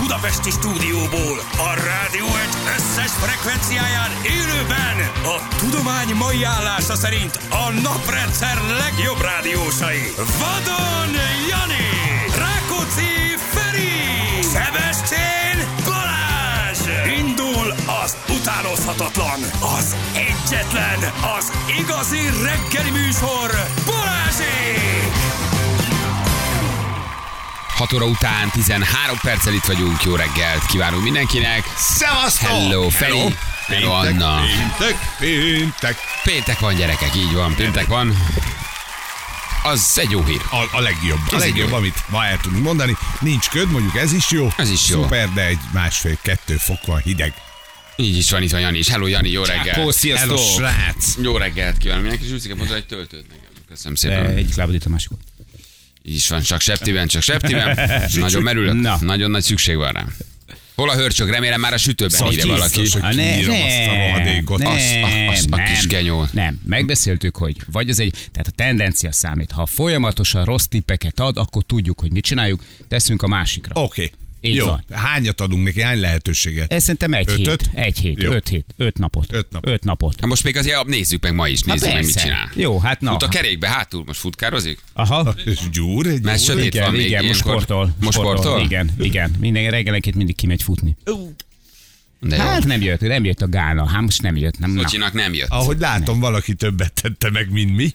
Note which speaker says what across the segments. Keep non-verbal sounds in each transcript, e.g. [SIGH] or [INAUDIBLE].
Speaker 1: budapesti stúdióból, a rádió egy összes frekvenciáján élőben a tudomány mai állása szerint a naprendszer legjobb rádiósai. Vadon Jani, Rákóczi Feri, Sebestyén Balázs! Indul az utánozhatatlan, az egyetlen, az igazi reggeli műsor Balázsék!
Speaker 2: 6 óra után 13 perccel itt vagyunk. Jó reggelt kívánunk mindenkinek.
Speaker 3: Szevasztok!
Speaker 2: Hello, Feri. Hello, Anna.
Speaker 3: Péntek, péntek.
Speaker 2: Péntek van, gyerekek, így van. Péntek van. Az egy jó hír.
Speaker 3: A, a legjobb, a
Speaker 2: Ez
Speaker 3: legjobb,
Speaker 2: jó.
Speaker 3: amit ma el tudunk mondani. Nincs köd, mondjuk ez is jó.
Speaker 2: Ez is jó.
Speaker 3: Szuper, de egy másfél-kettő fok van hideg.
Speaker 2: Így is van, itt van Jani is. Hello, Jani, jó reggelt.
Speaker 3: Hello, srác.
Speaker 2: Jó reggelt kívánok mindenkinek, és úgy szépen hozzá egy töltőt nekem. Köszönöm szépen.
Speaker 4: Egyik lábad itt a másikon.
Speaker 2: Így is van, csak septiben, csak
Speaker 4: [LAUGHS]
Speaker 2: septiben. Nagyon merülök.
Speaker 4: Na.
Speaker 2: Nagyon nagy szükség van rá. Hol a hörcsög? Remélem már a sütőben írja valaki. Hát
Speaker 3: biztos, hogy kiírom azt a rohadékot.
Speaker 4: nem,
Speaker 2: Azt- a- azt a kis
Speaker 4: nem,
Speaker 2: genyó.
Speaker 4: Nem, megbeszéltük, hogy vagy az egy, tehát a tendencia számít. Ha folyamatosan rossz tippeket ad, akkor tudjuk, hogy mit csináljuk, teszünk a másikra.
Speaker 3: Oké.
Speaker 4: Így
Speaker 3: Jó.
Speaker 4: van.
Speaker 3: Hányat adunk neki? Hány lehetőséget?
Speaker 4: Ez szerintem egy
Speaker 3: Ötöt?
Speaker 4: hét. Egy hét,
Speaker 3: Jó.
Speaker 4: öt hét, öt napot.
Speaker 3: Öt napot.
Speaker 4: Öt napot.
Speaker 2: Hát most még azért nézzük meg ma is, nézzük meg, mit
Speaker 4: persze.
Speaker 2: csinál.
Speaker 4: Jó, hát na.
Speaker 2: Fut a kerékbe, hátul most futkározik?
Speaker 4: Aha.
Speaker 3: És gyúr? Egy
Speaker 2: Mert
Speaker 3: gyúr?
Speaker 2: sötét
Speaker 4: Igen,
Speaker 2: van még
Speaker 4: igen, most
Speaker 2: ilyenkor.
Speaker 4: sportol.
Speaker 2: Most sportol?
Speaker 4: Igen, igen. Minden reggelenként mindig kimegy futni.
Speaker 2: De jó. Szóval
Speaker 4: Hát nem jött, nem jött a gála. Hát most nem jött, nem. na.
Speaker 2: Kocsinak nem jött.
Speaker 3: Ahogy látom, valaki többet tette meg, mint mi.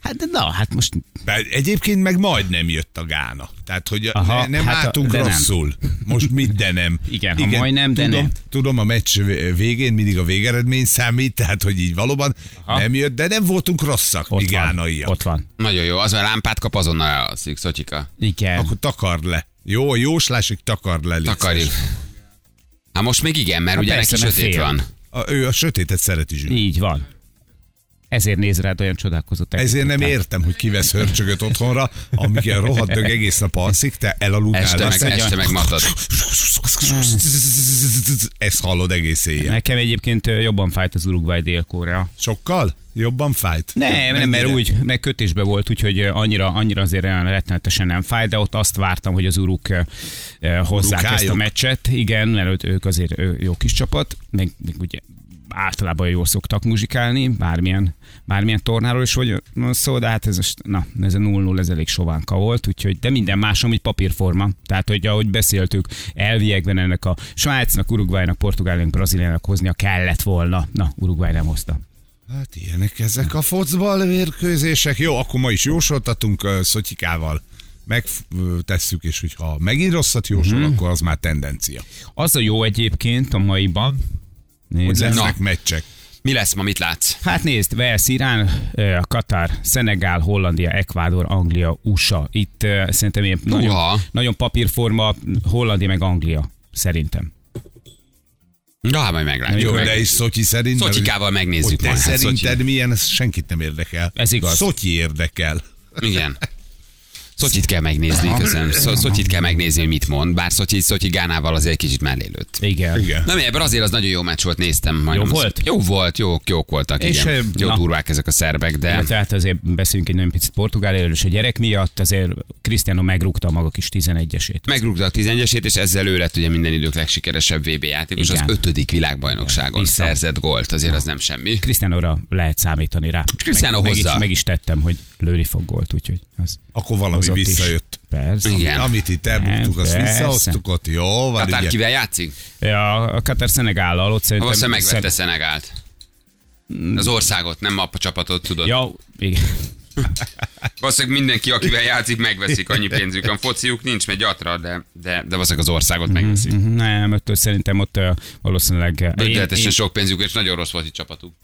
Speaker 4: Hát de na, hát most
Speaker 3: Bár egyébként meg majdnem jött a gána. Tehát, hogy Aha,
Speaker 4: Aha,
Speaker 3: ne, nem hát
Speaker 4: hát a-
Speaker 3: álltunk
Speaker 4: de nem.
Speaker 3: rosszul. Most mit, de nem.
Speaker 4: Igen, ha majdnem, de
Speaker 3: tudom,
Speaker 4: nem.
Speaker 3: Tudom, a meccs végén mindig a végeredmény számít, tehát, hogy így valóban Aha.
Speaker 4: Aha.
Speaker 3: nem jött, de nem voltunk rosszak,
Speaker 4: ott
Speaker 3: mi
Speaker 4: van.
Speaker 3: gánaiak.
Speaker 4: Ott van.
Speaker 2: Nagyon jó, az a lámpát kap, azonnal elalszik, Szotyika.
Speaker 4: Igen.
Speaker 3: Akkor takard le. Jó, a jóslásig takard le. légy
Speaker 2: Takarjuk.
Speaker 3: szíves.
Speaker 2: Hát most még igen, mert
Speaker 4: Hát
Speaker 2: ugye
Speaker 4: persze,
Speaker 2: neki
Speaker 4: mert
Speaker 2: sötét
Speaker 4: fél. Hát
Speaker 2: van.
Speaker 3: A, ő a sötétet szereti zsűri.
Speaker 4: Így van. Ezért néz rád olyan csodálkozott
Speaker 3: Ezért nem
Speaker 4: tekintettel.
Speaker 3: értem, hogy kivesz hörcsögöt otthonra, amikor a rohadt dög egész nap alszik, te elaludnál.
Speaker 2: Este meg,
Speaker 3: aztán-
Speaker 2: este meg matad.
Speaker 3: Ezt hallod egész éjjel.
Speaker 4: Nekem egyébként ö, jobban fájt az Uruguay Dél-Korea.
Speaker 3: Sokkal? Jobban fájt?
Speaker 4: Nem, nem, mert úgy, meg kötésbe volt, úgyhogy ö, annyira, annyira azért olyan rettenetesen nem fájt, de ott azt vártam, hogy az uruk ö, ö, hozzák ezt
Speaker 3: Urukályok.
Speaker 4: a meccset. Igen, mert ők azért ö, jó kis csapat, meg, meg ugye általában jól szoktak muzsikálni, bármilyen, bármilyen tornáról is vagy van szó, de hát ez, most- na, ez a 0-0, ez elég sovánka volt, úgyhogy, de minden más, amit papírforma. Tehát, hogy ahogy beszéltük, elviekben ennek a Svájcnak, Uruguaynak, Portugáliának, Brazíliának hoznia kellett volna. Na, Uruguay nem hozta.
Speaker 3: Hát ilyenek ezek a focbal mérkőzések. Jó, akkor ma is jósoltatunk uh, Szotyikával. Megtesszük, és hogyha megint rosszat jósol,
Speaker 2: Mhm.
Speaker 3: mm-hmm. akkor az már tendencia.
Speaker 4: Az a jó egyébként a maiban.
Speaker 3: Hogy
Speaker 4: Nézd.
Speaker 3: lesznek meccsek.
Speaker 2: Mi lesz ma, mit látsz?
Speaker 4: Hát nézd, Wales, Irán, ö, Katar, Szenegál, Hollandia, Ekvádor, Anglia, USA. Itt ö, szerintem ilyen nagyon, nagyon papírforma Hollandia meg Anglia. Szerintem.
Speaker 2: Na, hát majd meglátjuk.
Speaker 3: Jó,
Speaker 2: meg.
Speaker 3: de is Szotyi szerint.
Speaker 2: Szotyikával
Speaker 3: hogy
Speaker 2: megnézzük
Speaker 3: te
Speaker 2: majd. Hát,
Speaker 3: szerinted
Speaker 2: Szotyi-
Speaker 3: milyen, ez senkit nem érdekel.
Speaker 4: Ez igaz.
Speaker 3: Szotyi érdekel.
Speaker 2: Igen. Szotyit kell megnézni, köszönöm. Szo- Szotyit kell megnézni, hogy mit mond, bár Szotyi, Szotyi Gánával azért egy kicsit mellélőtt.
Speaker 4: Igen.
Speaker 3: Igen.
Speaker 2: Na miért, Brazil az nagyon jó meccs volt, néztem. majdnem azt-
Speaker 4: volt?
Speaker 2: Jó volt, jók, jók voltak,
Speaker 4: És,
Speaker 2: igen.
Speaker 4: ö,
Speaker 2: Jó
Speaker 4: na.
Speaker 2: durvák ezek a szerbek, de...
Speaker 4: Tehát hát, azért beszélünk egy nagyon picit Portugáliáról, és a gyerek miatt azért Cristiano megrúgta a maga kis 11-esét.
Speaker 2: Megrúgta a 11-esét, és ezzel ő lett ugye minden idők legsikeresebb VB játékos, az
Speaker 4: Igen.
Speaker 2: ötödik világbajnokságon
Speaker 4: Vissza.
Speaker 2: szerzett gólt, azért az nem semmi.
Speaker 4: Cristianóra lehet számítani rá.
Speaker 2: Cristiano
Speaker 4: meg, meg,
Speaker 2: hozza.
Speaker 4: is, meg is tettem, hogy lőni fog gólt, úgyhogy az
Speaker 3: Akkor valami
Speaker 4: hozott is.
Speaker 3: visszajött.
Speaker 4: Persze.
Speaker 2: Igen. Hát,
Speaker 3: Amit itt elbuktuk, azt
Speaker 4: Nem, persze.
Speaker 3: visszahoztuk ott. Jó, van
Speaker 2: Katár
Speaker 3: ugye.
Speaker 2: kivel játszik?
Speaker 4: Ja, a Katar Szenegállal ott szerintem...
Speaker 2: Valószínűleg megvette
Speaker 4: szer-
Speaker 2: Szenegált. Az országot, nem a csapatot, tudod. Ja.
Speaker 4: Ja, igen. [LAUGHS]
Speaker 2: Valószínűleg mindenki, akivel játszik, megveszik annyi pénzük. A fociuk nincs, megy gyatra, de, de, de valószínűleg az országot megveszik.
Speaker 4: Mhm, Nem, ott szerintem ott ö, valószínűleg... ö, én-
Speaker 2: Bődületesen
Speaker 4: én
Speaker 2: sok pénzük, és nagyon rossz volt egy csapatuk.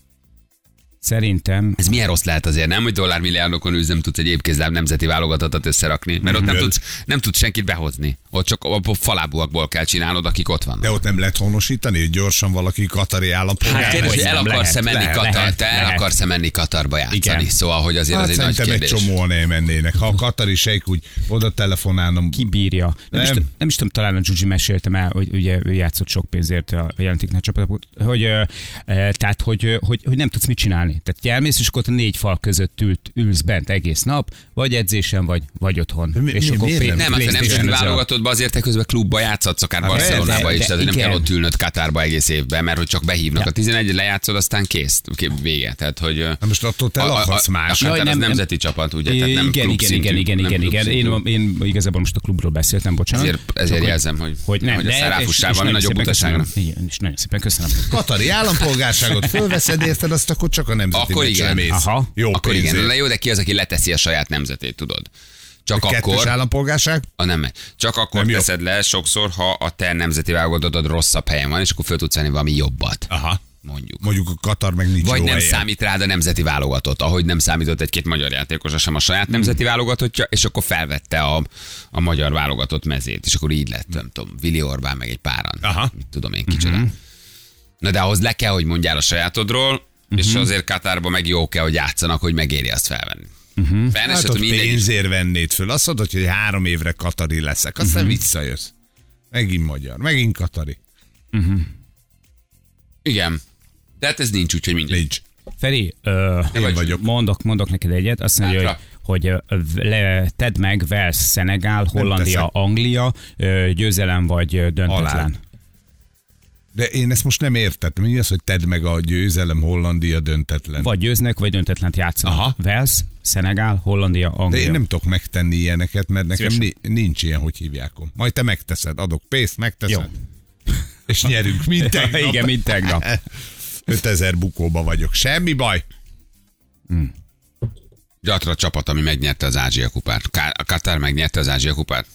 Speaker 4: Szerintem...
Speaker 2: Ez milyen rossz lehet azért, nem, hogy dollármilliárdokon üzem tudsz egy épkézláb nemzeti válogatottat összerakni, mert ott nem
Speaker 3: Igen.
Speaker 2: tudsz, nem tudsz senkit behozni. Ott csak a falábúakból kell csinálnod, akik ott vannak.
Speaker 3: De ott nem lehet honosítani, hogy gyorsan valaki katari állampolgár.
Speaker 2: Hát
Speaker 4: Nem,
Speaker 2: kérdés,
Speaker 3: lesz?
Speaker 2: hogy
Speaker 4: hogy
Speaker 2: el
Speaker 4: nem,
Speaker 2: akarsz-e
Speaker 4: lehet,
Speaker 2: menni
Speaker 4: lehet,
Speaker 2: Katar,
Speaker 4: lehet,
Speaker 2: te el
Speaker 4: lehet.
Speaker 2: akarsz-e menni Katarba játszani?
Speaker 4: Igen.
Speaker 2: Szóval, hogy azért
Speaker 3: Hát
Speaker 2: az egy nagy
Speaker 3: szerintem egy
Speaker 2: kérdés.
Speaker 3: csomóan elmennének. Ha a katari sejk úgy oda telefonálnom,
Speaker 4: Ki bírja. Nem,
Speaker 3: Nem.
Speaker 4: Is, tudom- nem is tudom, talán a Zsuzsi meséltem el, hogy ugye ő játszott sok pénzért a jelentéknél csapatot, hogy, ö, ö, tehát, hogy, ö, hogy, hogy, nem tudsz mit csinálni. csinálni. Tehát elmész, és akkor ott a négy fal között ült, ülsz bent egész nap, vagy edzésen, vagy, vagy otthon.
Speaker 3: mi-
Speaker 4: és
Speaker 3: mi-
Speaker 4: akkor
Speaker 3: miért
Speaker 4: pé-
Speaker 2: Nem, hát te nem
Speaker 4: PlayStation
Speaker 2: csak
Speaker 4: ezzel.
Speaker 2: válogatottba, azért te közben klubba játszhatsz, akár Barcelonába
Speaker 4: persze,
Speaker 2: is,
Speaker 4: Hát, de
Speaker 2: tehát nem
Speaker 4: igen.
Speaker 2: kell ott ülnöd Katárba egész évben, mert hogy csak behívnak.
Speaker 4: Ja.
Speaker 2: A 11 lejátszod, aztán kész, Oké, vége. Tehát, hogy...
Speaker 3: Na hát most attól te
Speaker 2: a- a-
Speaker 3: lakhatsz
Speaker 2: a-
Speaker 3: más.
Speaker 2: a- Kátár
Speaker 4: Jaj,
Speaker 2: hát az
Speaker 4: nem-
Speaker 2: nemzeti csapat, ugye? Tehát nem
Speaker 4: igen, igen,
Speaker 2: klubszintű,
Speaker 4: igen, igen,
Speaker 2: nem
Speaker 4: igen, igen.
Speaker 2: klubszintű.
Speaker 4: Én, én igazából most a klubról beszéltem, bocsánat.
Speaker 2: Ezért, ezért
Speaker 4: Csak,
Speaker 2: jelzem, hogy,
Speaker 4: hogy nem,
Speaker 2: hogy
Speaker 4: de
Speaker 2: a száráfussával
Speaker 4: nagyon
Speaker 2: nagyobb
Speaker 4: szépen
Speaker 2: utaságra.
Speaker 4: köszönöm. Igen, és nagyon szépen köszönöm.
Speaker 3: Hát Katari állampolgárságot fölveszed, érted, azt akkor csak a nemzeti
Speaker 2: Akkor
Speaker 3: meccsre
Speaker 2: igen.
Speaker 3: mész.
Speaker 4: Aha.
Speaker 3: Jó,
Speaker 2: Akkor igen,
Speaker 3: pénzért.
Speaker 2: de jó, de ki az, aki leteszi a saját nemzetét, tudod? Csak
Speaker 3: Kettős
Speaker 2: akkor,
Speaker 3: állampolgárság?
Speaker 2: A nem megy. Csak akkor
Speaker 3: Nem
Speaker 2: nem
Speaker 3: jó.
Speaker 2: teszed le sokszor, ha a te nemzeti válogatodod rosszabb helyen van, és akkor föl tudsz venni valami jobbat,
Speaker 3: Aha.
Speaker 2: mondjuk.
Speaker 3: Mondjuk a Katar meg nincs
Speaker 2: Vagy
Speaker 3: jó
Speaker 2: nem
Speaker 3: helyen.
Speaker 2: számít rád a nemzeti válogatott, ahogy nem számított egy-két magyar játékos sem a
Speaker 3: Mhm.
Speaker 2: saját nemzeti válogatottja, és akkor felvette a, a magyar válogatott mezét, és akkor így lett, nem tudom, Vili Orbán meg egy páran.
Speaker 3: Aha. Mhm.
Speaker 2: Mit tudom én, kicsoda. Na de ahhoz le kell, hogy mondjál a sajátodról,
Speaker 3: Mhm.
Speaker 2: és azért Katárban meg jó kell, hogy játszanak, hogy megéri azt felvenni. Uh-huh.
Speaker 3: Hát
Speaker 2: Felnesett,
Speaker 3: ott
Speaker 2: hogy mindegy
Speaker 3: pénzért vennéd föl. Azt mondod, hogy három évre Katari leszek. Aztán
Speaker 2: Mhm.
Speaker 3: visszajössz. Megint magyar, megint Katari.
Speaker 2: Igen. De hát ez nincs úgy, hogy mindegy.
Speaker 3: Nincs.
Speaker 4: Feri, ö,
Speaker 3: vagy- vagyok.
Speaker 4: Mondok, mondok neked egyet, azt mondja, hogy,
Speaker 2: Hátra.
Speaker 4: hogy ö, le, tedd meg Wales, Szenegál, Hollandia,
Speaker 3: teszem.
Speaker 4: Anglia, ö, győzelem vagy ö,
Speaker 3: Halál.
Speaker 4: döntetlen.
Speaker 3: De én ezt most nem értettem. Mi az, hogy tedd meg a győzelem Hollandia döntetlen?
Speaker 4: Vagy győznek, vagy döntetlent játszanak.
Speaker 3: Aha.
Speaker 4: Aha. Wales, Szenegál, Hollandia,
Speaker 3: De
Speaker 4: Anglia.
Speaker 3: én nem tudok megtenni ilyeneket, mert nekem
Speaker 4: Szívesen.
Speaker 3: ni- nincs ilyen, hogy hívják. Majd te megteszed, adok pénzt, megteszed. Jó. És nyerünk, mint tegnap.
Speaker 4: [LAUGHS] Igen, mint tegnap.
Speaker 3: 5000 bukóba vagyok. Semmi baj.
Speaker 2: Gyatra a csapat, ami megnyerte az Ázsia kupát. Ká- A Katár megnyerte az Ázsia kupát.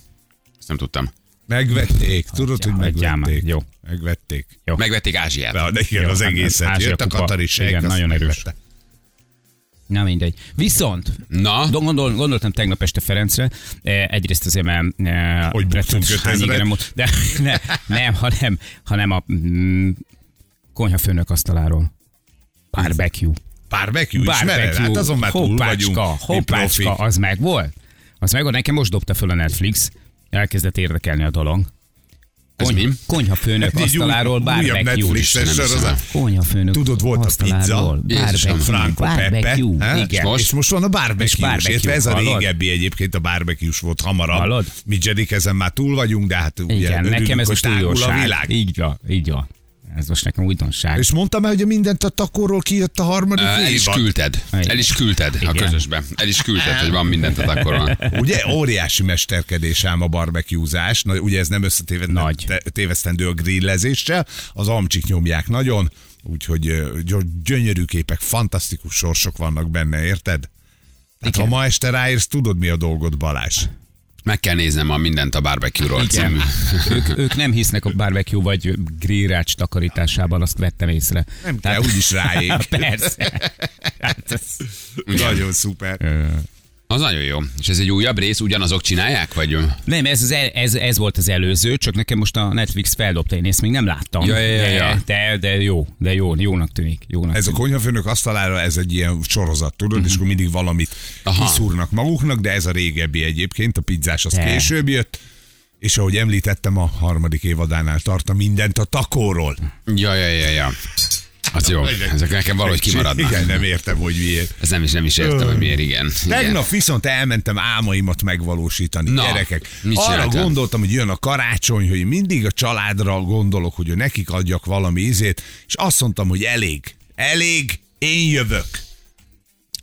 Speaker 2: Ezt nem tudtam.
Speaker 3: Megvették. Tudod, hogy
Speaker 4: Hagyjál, hagyjál már.
Speaker 3: megvették.
Speaker 4: Jó.
Speaker 3: Megvették.
Speaker 4: Jó.
Speaker 2: Megvették Ázsiát.
Speaker 3: De, de igen,
Speaker 4: Jó,
Speaker 3: az
Speaker 4: hát
Speaker 3: egészet.
Speaker 4: Ázsia
Speaker 3: Jött a
Speaker 4: kupa.
Speaker 3: Katari sejk,
Speaker 4: Igen,
Speaker 3: azt
Speaker 4: nagyon erős.
Speaker 3: megvette.
Speaker 4: Na mindegy. Viszont,
Speaker 2: Na?
Speaker 4: do- gondol, gondoltam tegnap este Ferencre, eh, egyrészt azért, mert... eh,
Speaker 3: Hogy buktunk
Speaker 4: hát,
Speaker 3: 5000-et?
Speaker 4: igen, nem ott- de, [LAUGHS] ne, nem, hanem, hanem a mm, konyhafőnök asztaláról. Barbecue.
Speaker 3: Barbecue, ismered? Hát azon már túl vagyunk.
Speaker 4: hoppácska,
Speaker 3: mi
Speaker 4: hoppácska,
Speaker 3: profik.
Speaker 4: az meg volt. Az meg volt, nekem most dobta föl a Netflix, elkezdett érdekelni a dolog.
Speaker 2: Ez
Speaker 4: Kony,
Speaker 2: mi?
Speaker 4: konyhafőnök
Speaker 3: Egy új-
Speaker 4: asztaláról
Speaker 3: újabb
Speaker 4: barbecue.
Speaker 3: Netflixes
Speaker 2: Nem hiszem
Speaker 3: sorozat.
Speaker 2: el.
Speaker 4: Konyhafőnök
Speaker 3: Tudod, volt a
Speaker 4: asztaláról.
Speaker 2: pizza. Jézusom,
Speaker 4: Barbecue.
Speaker 3: Franco Peppe.
Speaker 4: Barbecue.
Speaker 3: há?
Speaker 4: Igen.
Speaker 2: most?
Speaker 3: És most van a barbecue, és
Speaker 4: És barbecue,
Speaker 3: értve ez a
Speaker 4: hallod?
Speaker 3: régebbi egyébként, a barbecue volt hamarabb.
Speaker 4: Hallod?
Speaker 3: Mi Jedik ezen már túl vagyunk, de hát ugye
Speaker 4: Igen,
Speaker 3: örülünk,
Speaker 4: nekem ez
Speaker 3: hogy
Speaker 4: most
Speaker 3: tágul
Speaker 4: újdonság.
Speaker 3: a világ.
Speaker 4: Így van, így van. Ez most nekem újdonság.
Speaker 3: És mondtam el, hogy a mindent a takóról kijött a harmadik
Speaker 2: Ö, El is
Speaker 3: évad.
Speaker 2: küldted.
Speaker 4: Igen.
Speaker 2: El is küldted a
Speaker 4: Igen.
Speaker 2: közösbe. El is küldted, hogy van mindent a takkorban.
Speaker 3: Ugye óriási mesterkedés ám a barbecuezás, Na, ugye ez nem összetéved, nem
Speaker 4: Nagy.
Speaker 3: te- tévesztendő a grillezéssel, az amcsik nyomják nagyon, úgyhogy ö, gy- gyönyörű képek, fantasztikus sorsok vannak benne, érted? Hát ha ma este ráérsz, tudod mi a dolgod, Balázs.
Speaker 2: Meg kell néznem a mindent a barbecue-ról című.
Speaker 3: [LAUGHS]
Speaker 4: Igen. ők, ők nem hisznek a barbecue vagy grillrács takarításában, azt vettem észre.
Speaker 3: Nem kell, úgyis ráég. [LAUGHS]
Speaker 4: [LAUGHS] Persze. Hát ez...
Speaker 3: Nagyon szuper.
Speaker 2: Az nagyon jó. És ez egy újabb rész, ugyanazok csinálják, vagy?
Speaker 4: Nem, ez, az el, ez, ez volt az előző, csak nekem most a Netflix feldobta, én ezt még nem láttam.
Speaker 2: Ja, ja, ja,
Speaker 4: de,
Speaker 2: ja.
Speaker 4: De, de jó, de jó, jónak tűnik. Jónak
Speaker 3: Ez a
Speaker 4: tűnik.
Speaker 3: konyhafőnök asztalára, ez egy ilyen sorozat, tudod,
Speaker 4: Mhm.
Speaker 3: és akkor mindig valamit
Speaker 2: Aha.
Speaker 3: kiszúrnak maguknak, de ez a régebbi egyébként, a pizzás az
Speaker 4: De.
Speaker 3: később jött, és ahogy említettem, a harmadik évadánál tart a mindent a takóról.
Speaker 2: Ja, ja, ja, ja. Az jó. Ezek nekem valahogy kimaradnak.
Speaker 3: Igen, nem értem, hogy miért.
Speaker 2: Ez nem is, nem is értem, hogy miért, igen. igen.
Speaker 3: Tegnap viszont elmentem álmaimat megvalósítani,
Speaker 2: Na,
Speaker 3: gyerekek.
Speaker 2: mit
Speaker 3: Arra
Speaker 2: csináltál?
Speaker 3: gondoltam, hogy jön a karácsony, hogy mindig a családra gondolok, hogy nekik adjak valami ízét, és azt mondtam, hogy elég, elég, én jövök.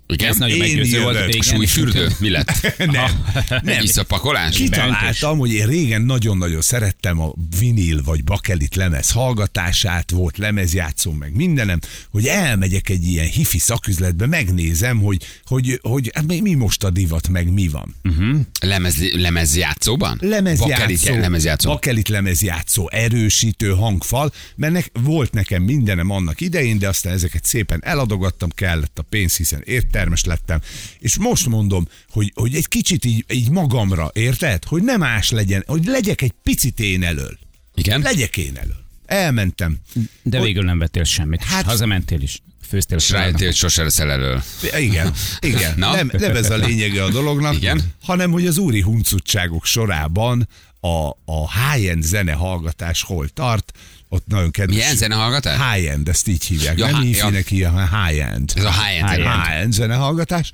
Speaker 2: Igen?
Speaker 4: Ez nagyon
Speaker 3: Én
Speaker 4: meggyőző volt.
Speaker 3: jövök.
Speaker 4: igen.
Speaker 2: Súlyfürdő? Mi lett?
Speaker 3: Nem,
Speaker 2: Egy iszapakolás?
Speaker 3: Kitaláltam, hogy én régen nagyon-nagyon szerettem a vinil vagy bakelit lemez hallgatását, volt lemezjátszom meg mindenem, hogy elmegyek egy ilyen hifi szaküzletbe, megnézem, hogy, hogy, hogy hát mi mi most a divat, meg mi van.
Speaker 2: Mhm. Lemez, lemezjátszóban?
Speaker 3: Lemezjátszó,
Speaker 2: Bakelit, lemezjátszó.
Speaker 3: bakelit lemezjátszó, erősítő hangfal, mert nek, volt nekem mindenem annak idején, de aztán ezeket szépen eladogattam, kellett a pénz, hiszen értelmes lettem. És most mondom, hogy, hogy egy kicsit így, így magamra, érted? Hogy nem más legyen, hogy legyek egy picit én elől.
Speaker 2: Igen?
Speaker 3: Legyek én elől. Elmentem.
Speaker 4: De végül nem vettél semmit.
Speaker 3: Hát-
Speaker 4: Hát... Hazamentél is. Főztél a
Speaker 2: Rájöttél, hogy sose leszel elől.
Speaker 3: Igen, igen.
Speaker 2: Na?
Speaker 3: Nem, nem ez a lényege a dolognak,
Speaker 2: Igen?
Speaker 3: hanem hogy az úri huncutságok sorában a, a high-end zene hallgatás hol tart, Ott nagyon kedves.
Speaker 2: Milyen zenehallgatás?
Speaker 3: High-end, ezt így hívják.
Speaker 2: Ja,
Speaker 3: Ja, nem
Speaker 2: hi- ja.
Speaker 3: hífinek ja. hanem high-end.
Speaker 2: Ez a high-end
Speaker 3: High-end,
Speaker 2: zenehallgatás.
Speaker 3: high-end zenehallgatás.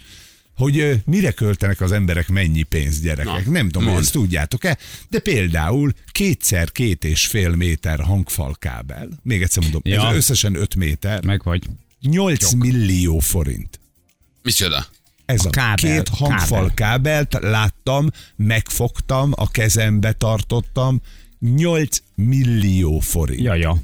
Speaker 3: Hogy ö, mire költenek az emberek mennyi pénzt gyerekek.
Speaker 2: Na,
Speaker 3: Na, nem tudom,
Speaker 2: mondd.
Speaker 3: hogy ezt tudjátok-e, de például kétszer két és fél méter hangfalkábel, még egyszer mondom, ja.
Speaker 4: Ja.
Speaker 3: ez összesen 5 méter,
Speaker 4: Meg vagy.
Speaker 3: 8 millió forint.
Speaker 2: Micsoda?
Speaker 3: Ez a,
Speaker 4: kábel,
Speaker 3: két hangfal kábelt láttam, megfogtam, a kezembe tartottam, 8 millió forint. Ja.
Speaker 4: Ja, ja.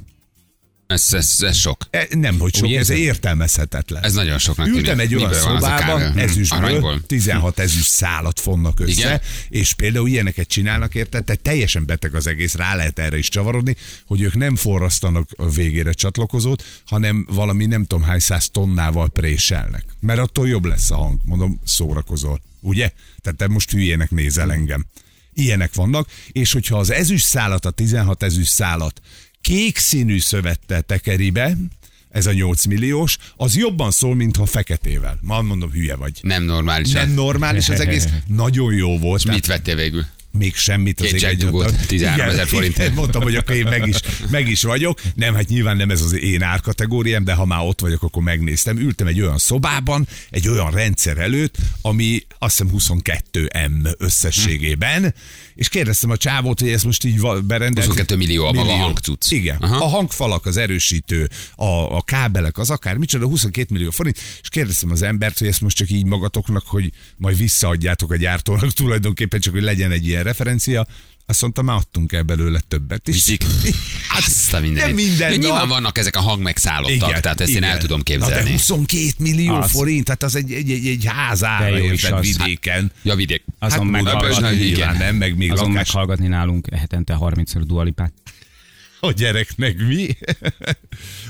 Speaker 2: Ez, ez, ez sok.
Speaker 3: E, nem, hogy sok,
Speaker 4: Ugye
Speaker 3: ez
Speaker 4: ez-
Speaker 3: értelmezhetetlen.
Speaker 2: Ez nagyon soknak
Speaker 3: Ültem egy olyan
Speaker 2: Miből van az a
Speaker 3: szobában,
Speaker 2: kávé? Hm,
Speaker 3: ezüstből,
Speaker 2: Aranyból?
Speaker 3: 16 ezüst szálat fonnak össze,
Speaker 2: Igen?
Speaker 3: Igen? és például ilyeneket csinálnak, érted? Tehát teljesen beteg az egész, rá lehet erre is csavarodni, hogy ők nem forrasztanak a végére csatlakozót, hanem valami nem tudom hány száz tonnával préselnek. Mert attól jobb lesz a hang, mondom, szórakozol, ugye? Tehát te most hülyének nézel engem. Ilyenek vannak, és hogyha az ezüst szálat, a 16 ezüst szálat kék színű szövettel tekeri be, ez a 8 milliós, az jobban szól, mintha feketével. Ma mondom, hülye vagy.
Speaker 2: Nem normális.
Speaker 3: Nem
Speaker 2: ez.
Speaker 3: normális az egész, nagyon jó volt.
Speaker 2: Mit vettél végül?
Speaker 3: Még semmit
Speaker 2: Két
Speaker 3: az
Speaker 2: Jack Dugót, 13 000 forintért.
Speaker 3: igen, Mondtam, hogy akkor én meg is, meg is vagyok. Nem, hát nyilván nem ez az én árkategóriám, de ha már ott vagyok, akkor megnéztem. Ültem egy olyan szobában, egy olyan rendszer előtt, ami azt hiszem 22 M összességében, és kérdeztem a csávót, hogy ez most így va- berendezett.
Speaker 2: 22 millió a maga hangcucc.
Speaker 3: Igen.
Speaker 2: Aha.
Speaker 3: Aha. A hangfalak, az erősítő, a, a kábelek, az akár, micsoda, 22 millió forint, és kérdeztem az embert, hogy ezt most csak így magatoknak, hogy majd visszaadjátok a gyártónak [LAUGHS] tulajdonképpen, csak hogy legyen egy ilyen referencia, azt mondta, már adtunk el belőle többet is. [LAUGHS]
Speaker 2: Viszik. Azt a mindenit.
Speaker 3: Hát Nem minden
Speaker 2: Ja, nyilván
Speaker 3: nap.
Speaker 2: vannak ezek a hangmegszállottak, tehát ezt én el tudom
Speaker 3: Na de
Speaker 2: képzelni.
Speaker 3: 22 millió
Speaker 4: Az.
Speaker 3: forint, hát az egy, egy, egy, egy ház ára,
Speaker 4: De jó is
Speaker 3: érted,
Speaker 4: az.
Speaker 3: vidéken.
Speaker 2: Ja, vidék.
Speaker 4: Azon
Speaker 3: Hát Budapesten
Speaker 4: meghallgatni,
Speaker 3: nyilván
Speaker 2: igen.
Speaker 3: nem, meg még
Speaker 4: Azon
Speaker 3: lakás
Speaker 4: meghallgatni nálunk hetente 30-szor dualipát.
Speaker 3: a gyereknek mi? [LAUGHS]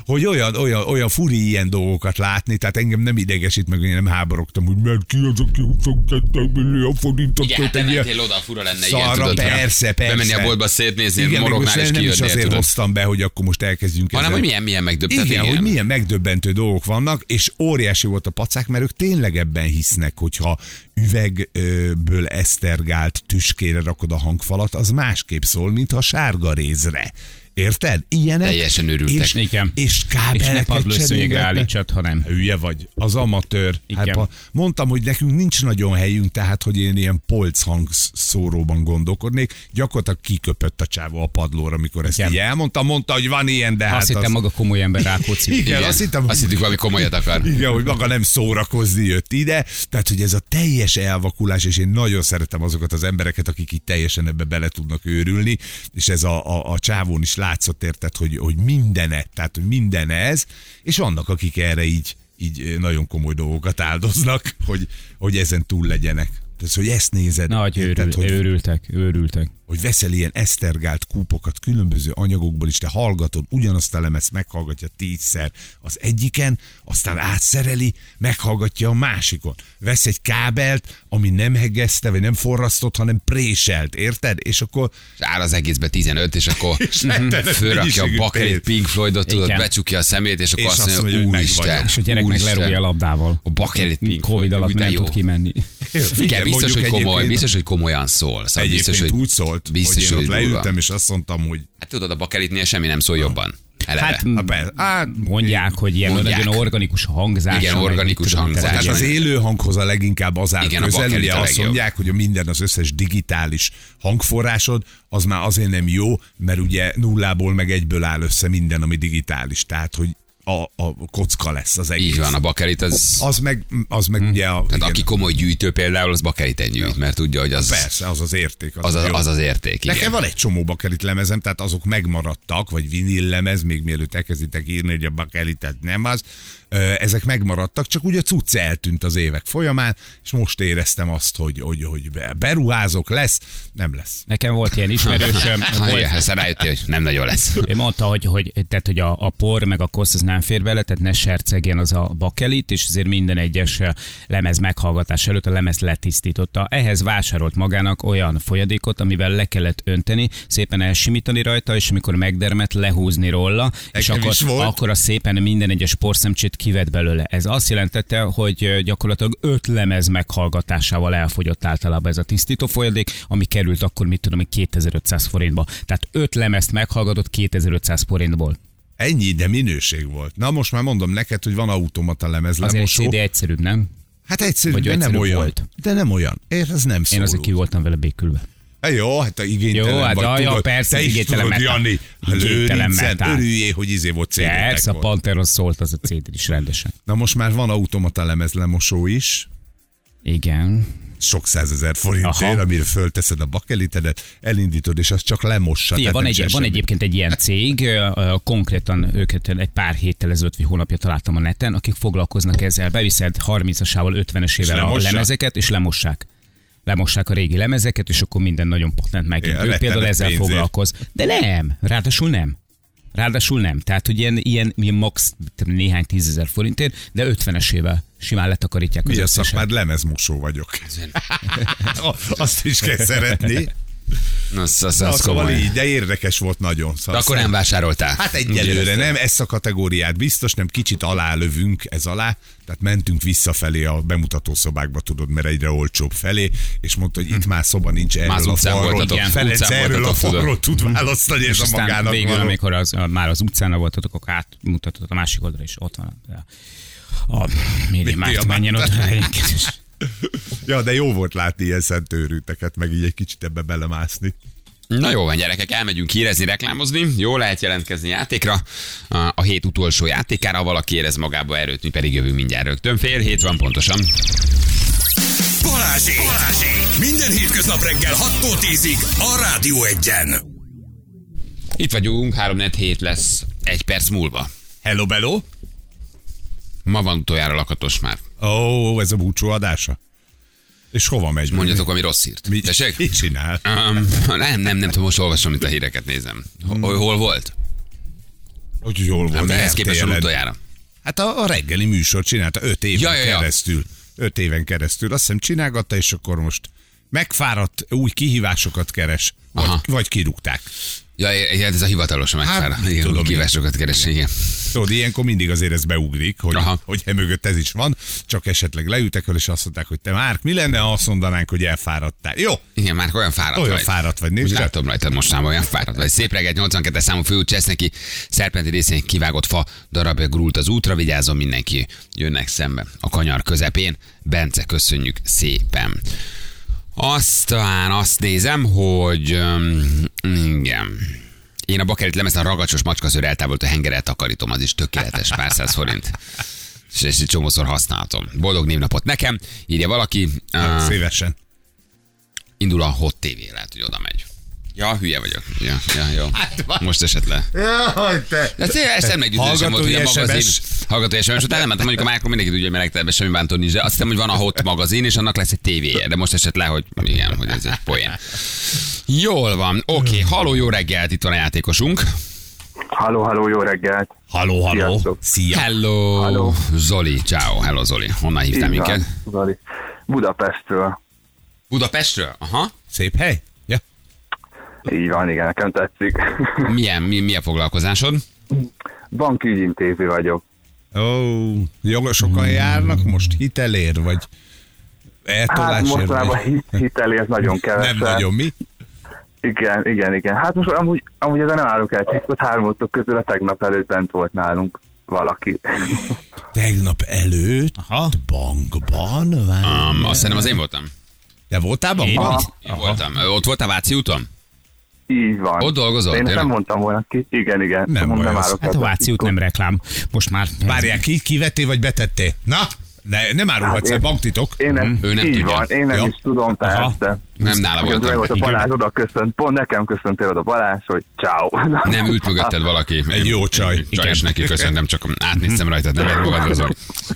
Speaker 3: hogy olyan, olyan, olyan furi ilyen dolgokat látni, tehát engem nem idegesít, meg én nem háborogtam, hogy mert ki az, aki 22 millió forintot
Speaker 2: Igen, hát
Speaker 3: költ egy ilyen
Speaker 2: elmentél oda, fura lenne, igen,
Speaker 3: szarra,
Speaker 2: tudod.
Speaker 3: persze, persze.
Speaker 2: Bemenni a boltba, szétnézni,
Speaker 3: Igen, meg most
Speaker 2: morognál és
Speaker 3: nem is
Speaker 2: kijönnél,
Speaker 3: azért
Speaker 2: tudod.
Speaker 3: hoztam be, hogy akkor most elkezdjünk
Speaker 2: Hanem,
Speaker 3: ezzel-
Speaker 2: hogy milyen, milyen megdöbbet.
Speaker 3: igen, hogy milyen megdöbbentő dolgok vannak, és óriási volt a pacák, mert ők tényleg ebben hisznek, hogyha üvegből esztergált tüskére rakod a hangfalat, az másképp szól, mint ha sárga rézre. Érted? Ilyenek.
Speaker 2: Teljesen őrültek.
Speaker 3: És,
Speaker 4: Igen.
Speaker 3: és
Speaker 4: És ne
Speaker 3: kábeleket
Speaker 4: padlószőnyegre
Speaker 3: cserélgetnek.
Speaker 4: állítsad, hanem.
Speaker 3: Hülye vagy, az amatőr. Hát,
Speaker 4: Igen.
Speaker 3: pa- mondtam, hogy nekünk nincs nagyon helyünk, tehát, hogy én ilyen polchang szóróban gondolkodnék. Gyakorlatilag kiköpött a csávó a padlóra, amikor ezt
Speaker 4: Igen.
Speaker 3: így elmondtam. Mondta, hogy van ilyen, de hát
Speaker 4: Azt hittem
Speaker 3: az...
Speaker 4: maga komoly ember Rákóczi.
Speaker 3: Igen, azt hittem,
Speaker 2: Azt hittük, valami komolyat akar.
Speaker 3: igen, hogy maga nem szórakozni jött ide, tehát hogy ez a teljes elvakulás, és én nagyon szeretem azokat az embereket, akik itt teljesen ebbe bele tudnak őrülni, és ez a, a, a csávón is látszott, érted, hogy, hogy mindene, tehát hogy minden ez, és vannak, akik erre így, így nagyon komoly dolgokat áldoznak, hogy, hogy ezen túl legyenek. Tehát, hogy ezt nézed,
Speaker 4: Nagy
Speaker 3: érted,
Speaker 4: őrül,
Speaker 3: hogy,
Speaker 4: őrültek, őrültek.
Speaker 3: hogy veszel ilyen esztergált kúpokat különböző anyagokból, és te hallgatod, ugyanazt a lemezt meghallgatja tízszer az egyiken, aztán átszereli, meghallgatja a másikon. Vesz egy kábelt, ami nem hegeszte, vagy nem forrasztott, hanem préselt, érted? És akkor
Speaker 2: és áll az egészbe 15, és
Speaker 3: [LAUGHS]
Speaker 2: akkor
Speaker 3: rettenet
Speaker 2: fölrakja a
Speaker 3: mennyiségű
Speaker 2: bakri
Speaker 3: pénzt.
Speaker 2: Pink Floydot, tudod,
Speaker 4: Igen.
Speaker 2: becsukja a szemét, és akkor
Speaker 3: És
Speaker 2: azt mondja, hogy
Speaker 3: meg
Speaker 2: úristen,
Speaker 3: vagyok.
Speaker 4: És a gyerek meg
Speaker 2: úristen,
Speaker 4: lerúgja a labdával.
Speaker 2: A bakelit Pink
Speaker 4: Covid
Speaker 2: Floyd,
Speaker 4: alatt
Speaker 2: de
Speaker 4: nem
Speaker 2: jó.
Speaker 4: tud kimenni.
Speaker 2: Igen, biztos, hogy komoly,
Speaker 3: egyébként-
Speaker 2: biztos, hogy komolyan szól. Szóval
Speaker 3: Egyébként
Speaker 2: biztos, hogy
Speaker 3: úgy szólt,
Speaker 2: biztos,
Speaker 3: hogy én ott
Speaker 2: hogy durva.
Speaker 3: leültem, és azt mondtam, hogy
Speaker 2: Hát tudod, a bakelitnél semmi nem szól jobban. Eleve.
Speaker 4: Hát
Speaker 3: hát, persze, hát
Speaker 4: mondják, hogy ilyen
Speaker 2: Mondják.
Speaker 4: nagyon organikus hangzás.
Speaker 2: Igen,
Speaker 4: meg
Speaker 2: organikus
Speaker 4: mit tudom,
Speaker 2: hangzás.
Speaker 4: tehát
Speaker 3: Tehát az
Speaker 2: Igen.
Speaker 3: élő hanghoz a leginkább az áll
Speaker 2: Igen, a
Speaker 3: közel,
Speaker 2: bakelit
Speaker 3: ugye
Speaker 2: a
Speaker 3: azt
Speaker 2: legjobb.
Speaker 3: mondják, hogy a minden az összes digitális hangforrásod, az már azért nem jó, mert ugye nullából meg egyből áll össze minden, ami digitális, tehát hogy a, a kocka lesz az egész.
Speaker 2: Így van, a bakelit az...
Speaker 3: Az meg, az meg ugye a, igen,
Speaker 2: Tehát aki komoly gyűjtő például, az bakeliten gyűjt, mert tudja, hogy az
Speaker 3: persze, az az érték.
Speaker 2: az, az,
Speaker 3: jó.
Speaker 2: az, az érték.
Speaker 3: Nekem
Speaker 2: Igen.
Speaker 3: van egy csomó bakelit lemezem, tehát azok megmaradtak, vagy vinil lemez, még mielőtt elkezditek írni, hogy a bakelitet nem az. Ö, Ezek megmaradtak, csak ugye a cucc eltűnt az évek folyamán, és most éreztem azt, hogy, hogy, hogy be- beruházok, lesz, nem lesz.
Speaker 4: Nekem volt ilyen
Speaker 2: [LAUGHS]
Speaker 4: ismerősöm,
Speaker 2: Ha,
Speaker 4: volt,
Speaker 2: igen, aztán rájöttél, hogy nem nagyon lesz.
Speaker 4: Ő mondta, hogy, hogy, tehát, hogy a, a por meg a kosz az nem fér bele, tehát ne sercegjen az a bakelit, és azért minden egyes eh, lemez meghallgatás előtt a lemez letisztította. Ehhez vásárolt magának olyan folyadékot, amivel le kellett önteni, szépen elsimítani rajta, és amikor megdermet, lehúzni róla, és
Speaker 3: Nekem is
Speaker 4: akkor,
Speaker 3: volt.
Speaker 4: akkor a szépen minden egyes porszemcsét kivett belőle. Ez azt jelentette, hogy gyakorlatilag öt lemez meghallgatásával elfogyott általában ez a tisztító folyadék, ami került akkor, mit tudom, hogy 2500 forintba. Tehát öt lemezt meghallgatott 2500 forintból.
Speaker 3: Ennyi, de minőség volt. Na most már mondom neked, hogy van automata lemez
Speaker 4: Azért egy
Speaker 3: lemosó.
Speaker 4: CD egyszerűbb, nem?
Speaker 3: Hát egyszerű,
Speaker 4: Vagy
Speaker 3: de nem
Speaker 4: egyszerűbb
Speaker 3: olyan.
Speaker 4: volt.
Speaker 3: De nem olyan. Ér, ez nem
Speaker 4: Én
Speaker 3: szóló.
Speaker 4: azért ki voltam vele békülve.
Speaker 3: Hát Jó, hát a igénytelen
Speaker 4: Jó, hát
Speaker 3: vagy,
Speaker 4: a- ja,
Speaker 3: tudod,
Speaker 4: persze,
Speaker 3: te is
Speaker 4: igénytelen
Speaker 3: tudod,
Speaker 4: metal.
Speaker 3: Jani,
Speaker 4: Igénytelen
Speaker 3: lőrincen,
Speaker 4: metal.
Speaker 3: örüljél, hogy izé volt cd
Speaker 4: Persze, a
Speaker 3: volt.
Speaker 4: Panteron szólt az a CD is rendesen.
Speaker 3: Na most már van automata lemezlemosó is,
Speaker 4: Igen.
Speaker 3: sok százezer forintért,
Speaker 4: Aha.
Speaker 3: amire fölteszed a bakelitedet, elindítod, és az csak lemossa.
Speaker 4: Figyelj,
Speaker 3: tehát
Speaker 4: van,
Speaker 3: nem
Speaker 4: egy,
Speaker 3: csinál
Speaker 4: van
Speaker 3: semmit.
Speaker 4: egyébként egy ilyen cég, ö, ö, konkrétan őket egy pár héttel ezelőtt, vagy hónapja találtam a neten, akik foglalkoznak ezzel, beviszed 30-asával, 50-esével a
Speaker 3: lemossák?
Speaker 4: lemezeket, és lemossák. Lemossák a régi lemezeket, és akkor minden nagyon patent meg.
Speaker 3: Ilyen
Speaker 4: Ő például
Speaker 3: rettenet
Speaker 4: ezzel
Speaker 3: pénzért.
Speaker 4: foglalkoz. De nem, ráadásul nem. Ráadásul nem. Tehát, hogy ilyen, ilyen, ilyen max tudom, néhány tízezer forintért, de 50-esével simán letakarítják az
Speaker 3: Mi a
Speaker 4: összeset.
Speaker 3: szakmád? Lemezmosó vagyok. Azt is kell szeretni.
Speaker 2: Na, az, az,
Speaker 3: Na,
Speaker 2: az
Speaker 3: szóval
Speaker 2: komoly.
Speaker 3: így, de érdekes volt nagyon.
Speaker 2: De
Speaker 3: Szóval
Speaker 2: akkor nem vásároltál.
Speaker 3: Hát egyelőre nem, ezt a kategóriát biztos nem, kicsit alá lövünk ez alá, tehát mentünk visszafelé a bemutató-szobákba, tudod, mert egyre olcsóbb felé, és mondta, hogy itt már szoba nincs
Speaker 2: Más
Speaker 3: erről a
Speaker 2: utcán
Speaker 3: falról,
Speaker 2: voltatok,
Speaker 3: igen, Ferenc
Speaker 2: utcán
Speaker 3: erről a
Speaker 2: voltatok, tudod.
Speaker 3: falról tud választani, és,
Speaker 4: és
Speaker 3: a
Speaker 4: aztán
Speaker 3: magának
Speaker 4: végül,
Speaker 3: való.
Speaker 4: amikor az, a, már az utcán voltatok, akkor átmutatott a másik oldalra, és ott van a, a, a média
Speaker 3: Média
Speaker 4: Mart, menjen
Speaker 3: Mart.
Speaker 4: ott. [LAUGHS] És
Speaker 3: Ja, de jó volt látni ilyen szentőrűteket, meg így egy kicsit ebbe belemászni.
Speaker 2: Na jó van, gyerekek, elmegyünk hírezni, reklámozni. Jó lehet jelentkezni játékra. A, a hét utolsó játékára, ha valaki érez magába erőt, mi pedig jövünk mindjárt rögtön. Fél hét van pontosan.
Speaker 1: Balázsi! Balázsi! Minden hétköznap reggel 6-tól 10-ig a Rádió Egyen.
Speaker 2: Itt vagyunk, 3 hét lesz egy perc múlva.
Speaker 3: Hello, bello!
Speaker 2: Ma van utoljára lakatos már.
Speaker 3: Ó, ez a búcsú adása? És hova megy?
Speaker 2: Mondjatok, ami rossz hírt.
Speaker 3: Mi,
Speaker 2: Tessék?
Speaker 3: mit csinál?
Speaker 2: Um, nem, nem, nem tudom, most olvasom, mint a híreket nézem.
Speaker 3: Hmm.
Speaker 2: Hol, hol volt?
Speaker 3: Hogy jól
Speaker 2: Nem,
Speaker 3: volt.
Speaker 2: de ehhez képest van
Speaker 3: RTL-en.
Speaker 2: utoljára.
Speaker 3: Hát a, a reggeli műsor csinálta öt éven
Speaker 2: Ja,
Speaker 3: ja,
Speaker 2: ja, ja.
Speaker 3: keresztül. Öt éven keresztül. Azt hiszem csinálgatta, és akkor most megfáradt, új kihívásokat keres. Vagy,
Speaker 2: Aha.
Speaker 3: vagy kirúgták.
Speaker 2: Ja, é- é- ez a hivatalos a megfára.
Speaker 3: Hát,
Speaker 2: igen,
Speaker 3: tudom
Speaker 2: tudom
Speaker 3: én.
Speaker 2: kívásokat keresni, igen.
Speaker 3: Tudod, ilyenkor mindig azért ez beugrik, hogy,
Speaker 2: Aha.
Speaker 3: hogy e mögött ez is van, csak esetleg leültek el, és azt mondták, hogy te Márk, mi lenne, ha azt mondanánk, hogy elfáradtál. Jó,
Speaker 2: Igen, már olyan fáradt
Speaker 3: Olyan
Speaker 2: vagy.
Speaker 3: fáradt vagy, nézd
Speaker 2: Hát Úgy
Speaker 3: rá.
Speaker 2: látom rajtad most már olyan fáradt vagy. Szép reggelt, 82 számú főút Cseszneki, szerpenti részén kivágott fa darabja grult az útra, vigyázzon mindenki, jönnek szembe a kanyar közepén. Bence, köszönjük szépen. Aztán azt nézem, hogy um, igen. Én a bakerit lemezen a ragacsos macskaszőr eltávolt a hengerrel takarítom, az is tökéletes, pár száz forint. És ezt egy csomószor használhatom. Boldog névnapot nekem, írja valaki.
Speaker 3: hát,
Speaker 2: Ah,
Speaker 3: szívesen.
Speaker 2: indul a Hot TV, lehet, hogy oda megy. Ja, hülye vagyok. Ja, ja, jó.
Speaker 3: Hát van.
Speaker 2: Most esett le.
Speaker 3: Jaj, te.
Speaker 2: De tényleg ezt nem meggyőződésem volt, hogy a
Speaker 3: Hallgatói
Speaker 2: magazin...
Speaker 3: SMS.
Speaker 2: Hallgatói SMS, után elmentem, mondjuk a Márkon mindenki tudja, hogy melegtelben semmi bántó nincs, de azt hiszem, hogy van a Hot magazin, és annak lesz egy tévéje, de most esett le, hogy igen, hogy ez egy poén. Jól van, oké, okay. haló, jó reggelt, itt van a játékosunk.
Speaker 5: Halló, halló, jó reggelt!
Speaker 3: Halló, halló.
Speaker 5: Sziasztok.
Speaker 3: Szia.
Speaker 2: Hello,
Speaker 5: Halló.
Speaker 2: Zoli, ciao, hello Zoli, honnan
Speaker 5: Így
Speaker 2: hívtál
Speaker 5: van,
Speaker 2: minket?
Speaker 5: Zoli. Budapestről.
Speaker 2: Budapestről, aha.
Speaker 3: Szép hely. Ja.
Speaker 5: Így van, igen, nekem tetszik. [LAUGHS]
Speaker 2: Milyen, mi, mi a foglalkozásod?
Speaker 5: Banki ügyintéző vagyok.
Speaker 3: Ó, jogosokan
Speaker 2: Hmm.
Speaker 3: járnak most hitelér, vagy
Speaker 5: Hát
Speaker 3: eltolásért?
Speaker 5: mostanában
Speaker 3: vagy-
Speaker 5: hit, hitelért nagyon
Speaker 3: nem
Speaker 5: kevesen.
Speaker 3: nagyon mi.
Speaker 5: Igen, igen, igen. Hát most amúgy, amúgy ezen nem állok el, csak ott három autók közül a tegnap előtt bent volt nálunk valaki. [LAUGHS]
Speaker 3: Tegnap előtt Aha. bankban? Várj.
Speaker 2: Um, azt hiszem az én voltam.
Speaker 3: Te voltál bankban?
Speaker 5: Aha.
Speaker 2: Én voltam. Ott voltál Váci úton?
Speaker 5: Így van.
Speaker 2: Ott dolgozol,
Speaker 5: Én ezt nem
Speaker 2: tényleg?
Speaker 5: mondtam volna ki. Igen, igen.
Speaker 3: Nem
Speaker 5: Mondom,
Speaker 3: baj az.
Speaker 5: állok
Speaker 4: hát a
Speaker 5: el,
Speaker 4: Váci út
Speaker 5: titkon.
Speaker 4: nem reklám. Most már
Speaker 3: Várják, ki, kivettél vagy betettél? Na, ne, nem árulhatsz
Speaker 5: Hát
Speaker 3: el
Speaker 5: én-
Speaker 3: banktitok.
Speaker 5: Én ezt,
Speaker 2: Ő nem
Speaker 5: így
Speaker 2: tudja.
Speaker 5: van, én nem
Speaker 3: Ja.
Speaker 5: is tudom, persze.
Speaker 2: Nem nála
Speaker 5: Közben
Speaker 2: voltam.
Speaker 5: volt a Balázs oda köszönt, pont nekem köszöntél oda Balázs, hogy ciao.
Speaker 2: Nem, ült mögötted valaki.
Speaker 3: Egy jó csaj.
Speaker 2: Csaj, és neki köszöntem, csak átnéztem rajtad, nem egy magadozom.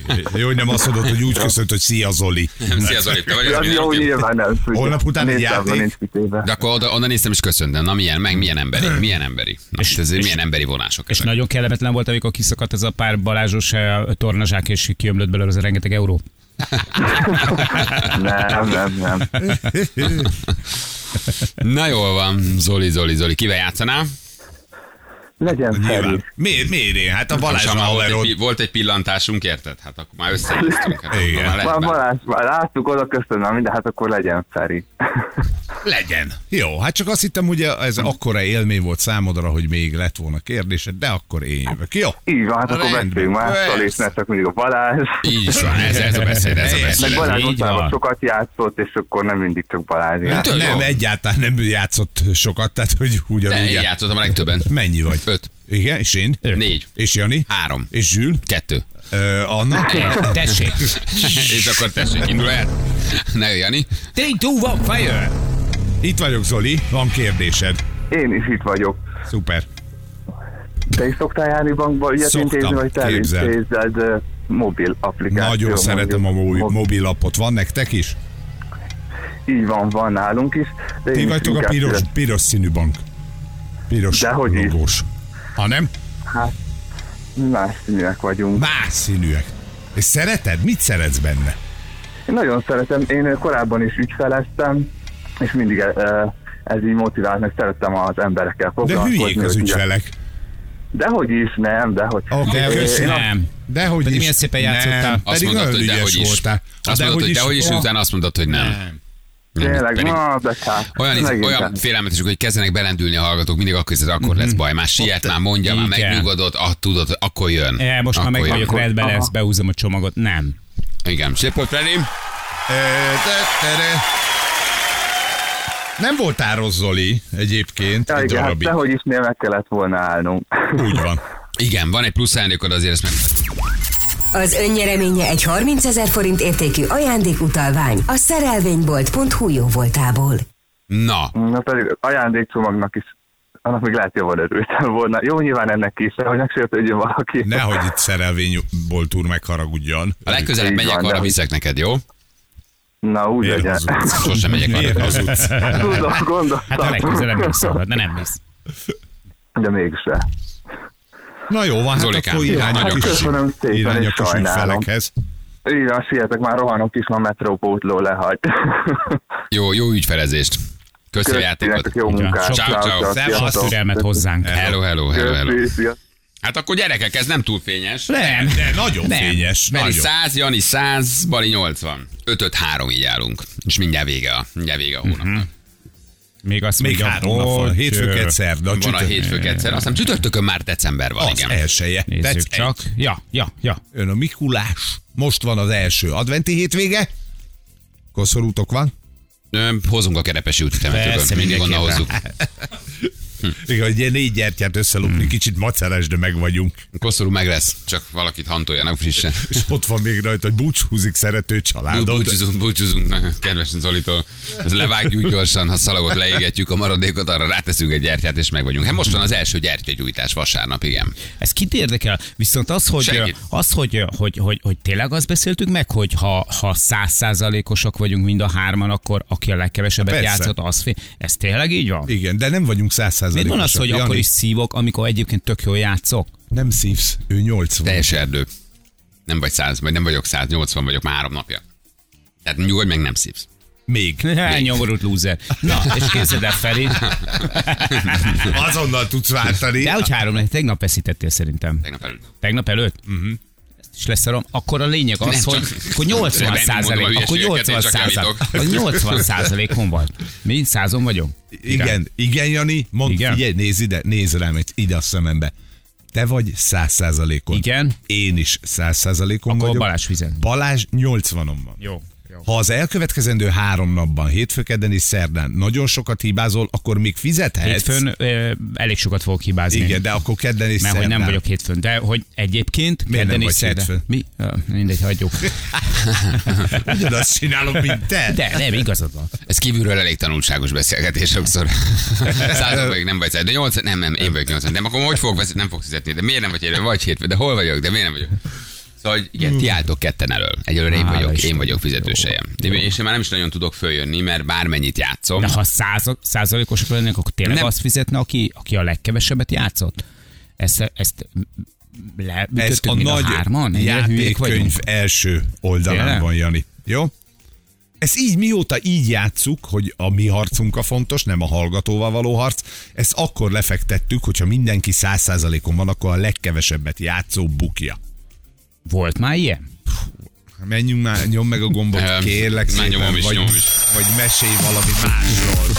Speaker 3: Hm? Jó, hogy nem azt mondod, hogy úgy köszönt, hogy szia
Speaker 5: [LAUGHS]
Speaker 3: Zoli.
Speaker 2: Szia Zoli, te vagy?
Speaker 5: Az
Speaker 2: Minden
Speaker 5: jó,
Speaker 2: oké?
Speaker 5: nyilván nem. tudja.
Speaker 3: Holnap után egy
Speaker 5: Néztem,
Speaker 3: játék.
Speaker 5: nincs kitéve.
Speaker 3: [LAUGHS]
Speaker 2: De akkor oda, onnan néztem és köszöntem. Na milyen, meg milyen emberi, milyen emberi. Na, és, ez milyen emberi vonások
Speaker 4: És
Speaker 2: ezek.
Speaker 4: nagyon kellemetlen volt, amikor kiszakadt ez a pár balázsos eh, tornazsák, és kiömlött belőle az a rengeteg euró.
Speaker 5: Nem, nem, nem.
Speaker 2: Na jól van, Zoli, Zoli, Zoli. Kivel játszanál?
Speaker 5: Legyen Feri.
Speaker 3: Nyilván. Miért, miért én? Hát a Balázs
Speaker 2: Balázs
Speaker 3: a
Speaker 2: volt, egy,
Speaker 3: haverod.
Speaker 2: pi- volt egy pillantásunk, érted? Hát akkor már összejöttünk. Hát, akkor
Speaker 3: Igen.
Speaker 2: már lehet
Speaker 5: Már
Speaker 2: benne.
Speaker 5: Balázs, már láttuk, oda köszönöm minden, hát akkor legyen Feri. [LAUGHS]
Speaker 3: Legyen. Jó, hát csak azt hittem, hogy ez akkora élmény volt számodra, hogy még lett volna kérdésed, de akkor én jövök. Jó.
Speaker 5: Így van, hát akkor
Speaker 3: Rendben.
Speaker 5: beszéljünk mástól, és
Speaker 3: Persze.
Speaker 5: ne csak mindig a Balázs.
Speaker 2: Így is van, ez, ez a beszéd, ez a
Speaker 5: Meg
Speaker 2: beszéd.
Speaker 5: Balázs
Speaker 4: így van.
Speaker 5: mostanában sokat játszott, és akkor nem mindig csak Balázs játszott.
Speaker 2: tök
Speaker 3: nem,
Speaker 2: jó.
Speaker 3: egyáltalán nem játszott sokat, tehát hogy
Speaker 2: De
Speaker 3: ugyanúgy.
Speaker 2: én
Speaker 3: já-
Speaker 2: játszottam a legtöbben.
Speaker 3: Mennyi vagy?
Speaker 2: Öt.
Speaker 3: Igen, és én?
Speaker 2: Négy.
Speaker 3: És Jani?
Speaker 2: Három.
Speaker 3: És Zsül?
Speaker 2: Kettő. [LAUGHS]
Speaker 3: Ö, Anna?
Speaker 4: Tessék.
Speaker 2: És akkor tessék, indul el. Ne Jani.
Speaker 4: Three, two, one, fire!
Speaker 3: Itt vagyok, Zoli, van kérdésed.
Speaker 5: Én is itt vagyok.
Speaker 3: Szuper.
Speaker 5: Te is szoktál járni bankba
Speaker 3: Szoktam,
Speaker 5: ügyetintézni, vagy te
Speaker 3: képzeld.
Speaker 5: intézed ö, mobil applikáció?
Speaker 3: Nagyon szeretem a mobi-
Speaker 5: Mo-
Speaker 3: mobilapot. Van nektek is?
Speaker 5: Így van, van nálunk is. De én
Speaker 3: Ti
Speaker 5: is
Speaker 3: vagytok a
Speaker 5: inkább
Speaker 3: piros,
Speaker 5: szeret-
Speaker 3: piros színű bank. Piros
Speaker 5: Dehogy is.
Speaker 3: logós. Ha nem,
Speaker 5: Más színűek vagyunk.
Speaker 3: más színűek. És szereted? Mit szeretsz benne?
Speaker 5: Én nagyon szeretem, én ö, korábban is ügyfeleztem, és mindig ö, ez így motivált, meg szerettem az emberekkel
Speaker 3: De
Speaker 5: foglalkozni.
Speaker 3: hülyék az
Speaker 5: hogy
Speaker 3: ügyfelek.
Speaker 5: Dehogy is, nem, dehogy.
Speaker 3: Oké,
Speaker 5: Én-
Speaker 3: köszi.
Speaker 5: én
Speaker 4: Nem.
Speaker 3: Dehogy
Speaker 4: Pedig
Speaker 3: is.
Speaker 4: milyen szépen játszottál.
Speaker 3: Nem,
Speaker 2: Azt
Speaker 3: pedig
Speaker 2: mondtad,
Speaker 3: nagyon
Speaker 2: hogy
Speaker 3: ügyes
Speaker 2: dehogy is.
Speaker 3: voltál.
Speaker 2: Azt mondtad, hogy dehogy is, és utána azt mondtad, hogy nem.
Speaker 3: Nem.
Speaker 5: Tényleg,
Speaker 2: Pedig-
Speaker 5: na, de kár.
Speaker 2: Olyan, iz-
Speaker 5: Megint
Speaker 2: olyan
Speaker 5: nem.
Speaker 2: félelmetesek, hogy kezdenek belendülni a hallgatók, mindig akkor, hiszed, akkor lesz baj. Már siet, már mondja, már
Speaker 4: Igen.
Speaker 2: megnyugodott, ah, tudod, akkor jön.
Speaker 4: E, most már
Speaker 2: Akkor
Speaker 4: meg
Speaker 2: jön.
Speaker 4: vagyok, rendben
Speaker 5: Aha.
Speaker 4: lesz, behúzom a csomagot. Nem.
Speaker 2: Igen, Sépot Freddy.
Speaker 3: Ö, te- tere. Nem voltál rossz, Zoli, egyébként.
Speaker 5: Ja,
Speaker 3: egy
Speaker 5: igen, hát
Speaker 3: darabig.
Speaker 5: dehogy is, miért meg kellett volna állnunk.
Speaker 3: Úgy van.
Speaker 2: Igen, van egy plusz ajándékod, azért ezt meg...
Speaker 6: Az önnyereménye egy 30 ezer forint értékű ajándékutalvány a szerelvénybolt.hu jó voltából.
Speaker 2: Na,
Speaker 5: [LAUGHS] Na pedig ajándékcsomagnak is annak még lehet jobban örültem volna. Jó, nyilván ennek is, de hogy ne sértődjön valaki.
Speaker 3: Nehogy itt szerelvénybolt úr megharagudjon.
Speaker 2: a legközelebb
Speaker 5: Így
Speaker 2: megyek,
Speaker 5: van,
Speaker 2: arra
Speaker 5: de-
Speaker 2: viszek neked, jó?
Speaker 5: Na, úgy
Speaker 3: Miért
Speaker 5: legyen.
Speaker 3: hazudsz?
Speaker 2: Sosem megyek arra.
Speaker 3: Miért hazudsz?
Speaker 5: [LAUGHS] Tudom, gondoltam.
Speaker 4: Hát a legközelebb még szólhat, de nem mész.
Speaker 5: De mégse.
Speaker 3: Na jó, van, hát
Speaker 2: Zolikám,
Speaker 3: akkor
Speaker 2: jó,
Speaker 3: irányok
Speaker 5: hát
Speaker 3: is-
Speaker 5: köszönöm szépen,
Speaker 3: irányok is
Speaker 5: sajnálom.
Speaker 3: ügyfelekhez.
Speaker 5: Így van, sietek, már rohanok is, ma metrópótló lehagy.
Speaker 2: Jó, jó ügyfelezést. Köszi a játékot.
Speaker 5: Sziasztok, jó munkát.
Speaker 4: Sok-
Speaker 2: Ciao, ciao.
Speaker 4: Azt
Speaker 5: Sziasztok.
Speaker 4: türelmet hozzánk.
Speaker 2: Hello, hello, hello, hello.
Speaker 5: Köszi, sziasztok.
Speaker 2: Hát akkor gyerekek, ez nem túl fényes.
Speaker 4: Nem.
Speaker 3: De nagyon
Speaker 4: Nem.
Speaker 3: fényes,
Speaker 2: Meri
Speaker 3: nagyon.
Speaker 2: 100, Jani 100, Bali 80. 5-5-3 így állunk. És mindjárt vége a, mindjárt vége a hónapnak.
Speaker 3: Mhm.
Speaker 4: Még azt
Speaker 3: Még
Speaker 4: mondja,
Speaker 3: három nap van.
Speaker 4: hogy,
Speaker 3: Hétfőket, szerda,
Speaker 2: Van a
Speaker 3: csütörtök.
Speaker 2: hétfők egyszer, aztán csütörtökön már december van,
Speaker 3: Az
Speaker 2: igen.
Speaker 3: elsője.
Speaker 4: Nézzük
Speaker 3: Tetsz
Speaker 4: csak.
Speaker 3: egy.
Speaker 4: Ja, ja, ja.
Speaker 3: Ön a Mikulás. Most van az első adventi hétvége. Koszorútok van?
Speaker 2: Ö, Hozunk a kerepesi úti
Speaker 4: Persze,
Speaker 2: temetőből, mindig onnan
Speaker 4: mindenképpen.
Speaker 2: hozzuk.
Speaker 3: Igen, egy ilyen négy gyertyát összelopni, kicsit maceres, de meg vagyunk.
Speaker 2: Koszorú meg lesz, csak valakit hantoljanak frissen.
Speaker 3: És ott van még rajta, hogy búcsúzik szerető
Speaker 2: Bú-
Speaker 3: családod.
Speaker 2: Búcsúzunk, búcsúzunk, kedves Zolitól. Ez levágjuk gyorsan, ha szalagot leégetjük, a maradékot arra ráteszünk egy gyertyát, és meg vagyunk. Hát most van az első gyertyagyújtás vasárnap, igen.
Speaker 4: Ez kit érdekel? Viszont az, hogy,
Speaker 2: Senkit.
Speaker 4: az, hogy, hogy, hogy, hogy tényleg azt beszéltük meg, hogy ha, ha százszázalékosak vagyunk mind a hárman, akkor aki a legkevesebbet
Speaker 3: Persze.
Speaker 4: játszott, az fél. Ez tényleg így van?
Speaker 3: Igen, de nem vagyunk
Speaker 4: Miért
Speaker 3: százszázalékosak.
Speaker 4: van az, hogy
Speaker 3: Jani,
Speaker 4: akkor is szívok, amikor egyébként tök jól játszok?
Speaker 3: Nem szívsz, ő 80.
Speaker 2: Teljes erdő. Nem vagy 100, vagy nem vagyok 180, vagyok már három napja. Tehát nyugodj meg, nem szívsz.
Speaker 3: Még.
Speaker 4: [LAUGHS] Nyomorult lúzer. Na, és képzeld el,
Speaker 3: [LAUGHS]
Speaker 4: Feri.
Speaker 3: Azonnal tudsz váltani.
Speaker 4: De hogy három, lehet, tegnap veszítettél szerintem.
Speaker 2: Tegnap előtt.
Speaker 4: Tegnap előtt? Uh-huh. És leszarom, akkor a lényeg az,
Speaker 2: Nem,
Speaker 4: hogy
Speaker 2: csak-
Speaker 4: akkor 80
Speaker 2: Nem mondom a
Speaker 4: százalék, akkor
Speaker 2: hülyeségeket, én csak
Speaker 4: 80 százalék,
Speaker 2: javítok.
Speaker 4: az 80 százalékon vagy. Mi százon vagyok?
Speaker 3: Igen, igen, Jani, mondd,
Speaker 4: Igen?
Speaker 3: figyelj, nézd ide, nézd rám, itt, ide a szemembe. Te vagy száz százalékon.
Speaker 4: Igen.
Speaker 3: Én is száz százalékon
Speaker 4: Akkor
Speaker 3: vagyok.
Speaker 4: Balázs fizet.
Speaker 3: Balázs 80-on van.
Speaker 4: Jó. jó.
Speaker 3: Ha az elkövetkezendő három napban, hétfőkedden és szerdán nagyon sokat hibázol, akkor még fizethetsz.
Speaker 4: Hétfőn ö, elég sokat fogok hibázni.
Speaker 3: Igen, de akkor kedden és
Speaker 4: Mert hogy
Speaker 3: szerdán.
Speaker 4: nem vagyok hétfőn, de hogy egyébként
Speaker 3: Miért
Speaker 4: kedden
Speaker 3: nem
Speaker 4: és
Speaker 3: vagy
Speaker 4: szerdán-
Speaker 3: hétfőn? Hát.
Speaker 4: Mi? Ö, Mindegy,
Speaker 3: [LAUGHS]
Speaker 4: hagyjuk.
Speaker 3: Ugyanazt csinálom, mint te.
Speaker 4: De nem, igazad van.
Speaker 2: Ez kívülről elég tanulságos beszélgetés sokszor. Század vagyok, nem vagy száz. De nyolc, nem, nem, én vagyok nyolc. De akkor hogy fogok, vesz- nem fogsz fizetni? De miért nem vagy hétfő? Vagy hétfő? De hol vagyok? De miért nem vagyok? Szóval hogy igen, ti álltok ketten elől. Egyelőre én
Speaker 4: Hála
Speaker 2: vagyok, én
Speaker 4: Istennek.
Speaker 2: vagyok fizetősejem. De És én már nem is nagyon tudok följönni, mert bármennyit játszom.
Speaker 4: De ha százal- százalékosok lennének, akkor tényleg
Speaker 2: Nem.
Speaker 4: nem. azt fizetne, aki, aki a legkevesebbet játszott? Ezt, ezt le,
Speaker 3: Ez a nagy
Speaker 4: hárman? Ennyire hülyék vagyunk?
Speaker 3: játékkönyv első oldalán
Speaker 4: Tényleg?
Speaker 3: van, Jani. Jó? Ezt így mióta így játsszuk, hogy a mi harcunk a fontos, nem a hallgatóval való harc, ezt akkor lefektettük, hogyha mindenki száz százalékon van, akkor a legkevesebbet játszó bukja.
Speaker 4: Volt már ilyen?
Speaker 3: Menjünk már, nyom meg a gombot,
Speaker 2: Em,
Speaker 3: kérlek
Speaker 2: már
Speaker 3: szépen,
Speaker 2: nyomom is,
Speaker 3: vagy,
Speaker 2: nyomom is.
Speaker 3: vagy mesélj valami másról.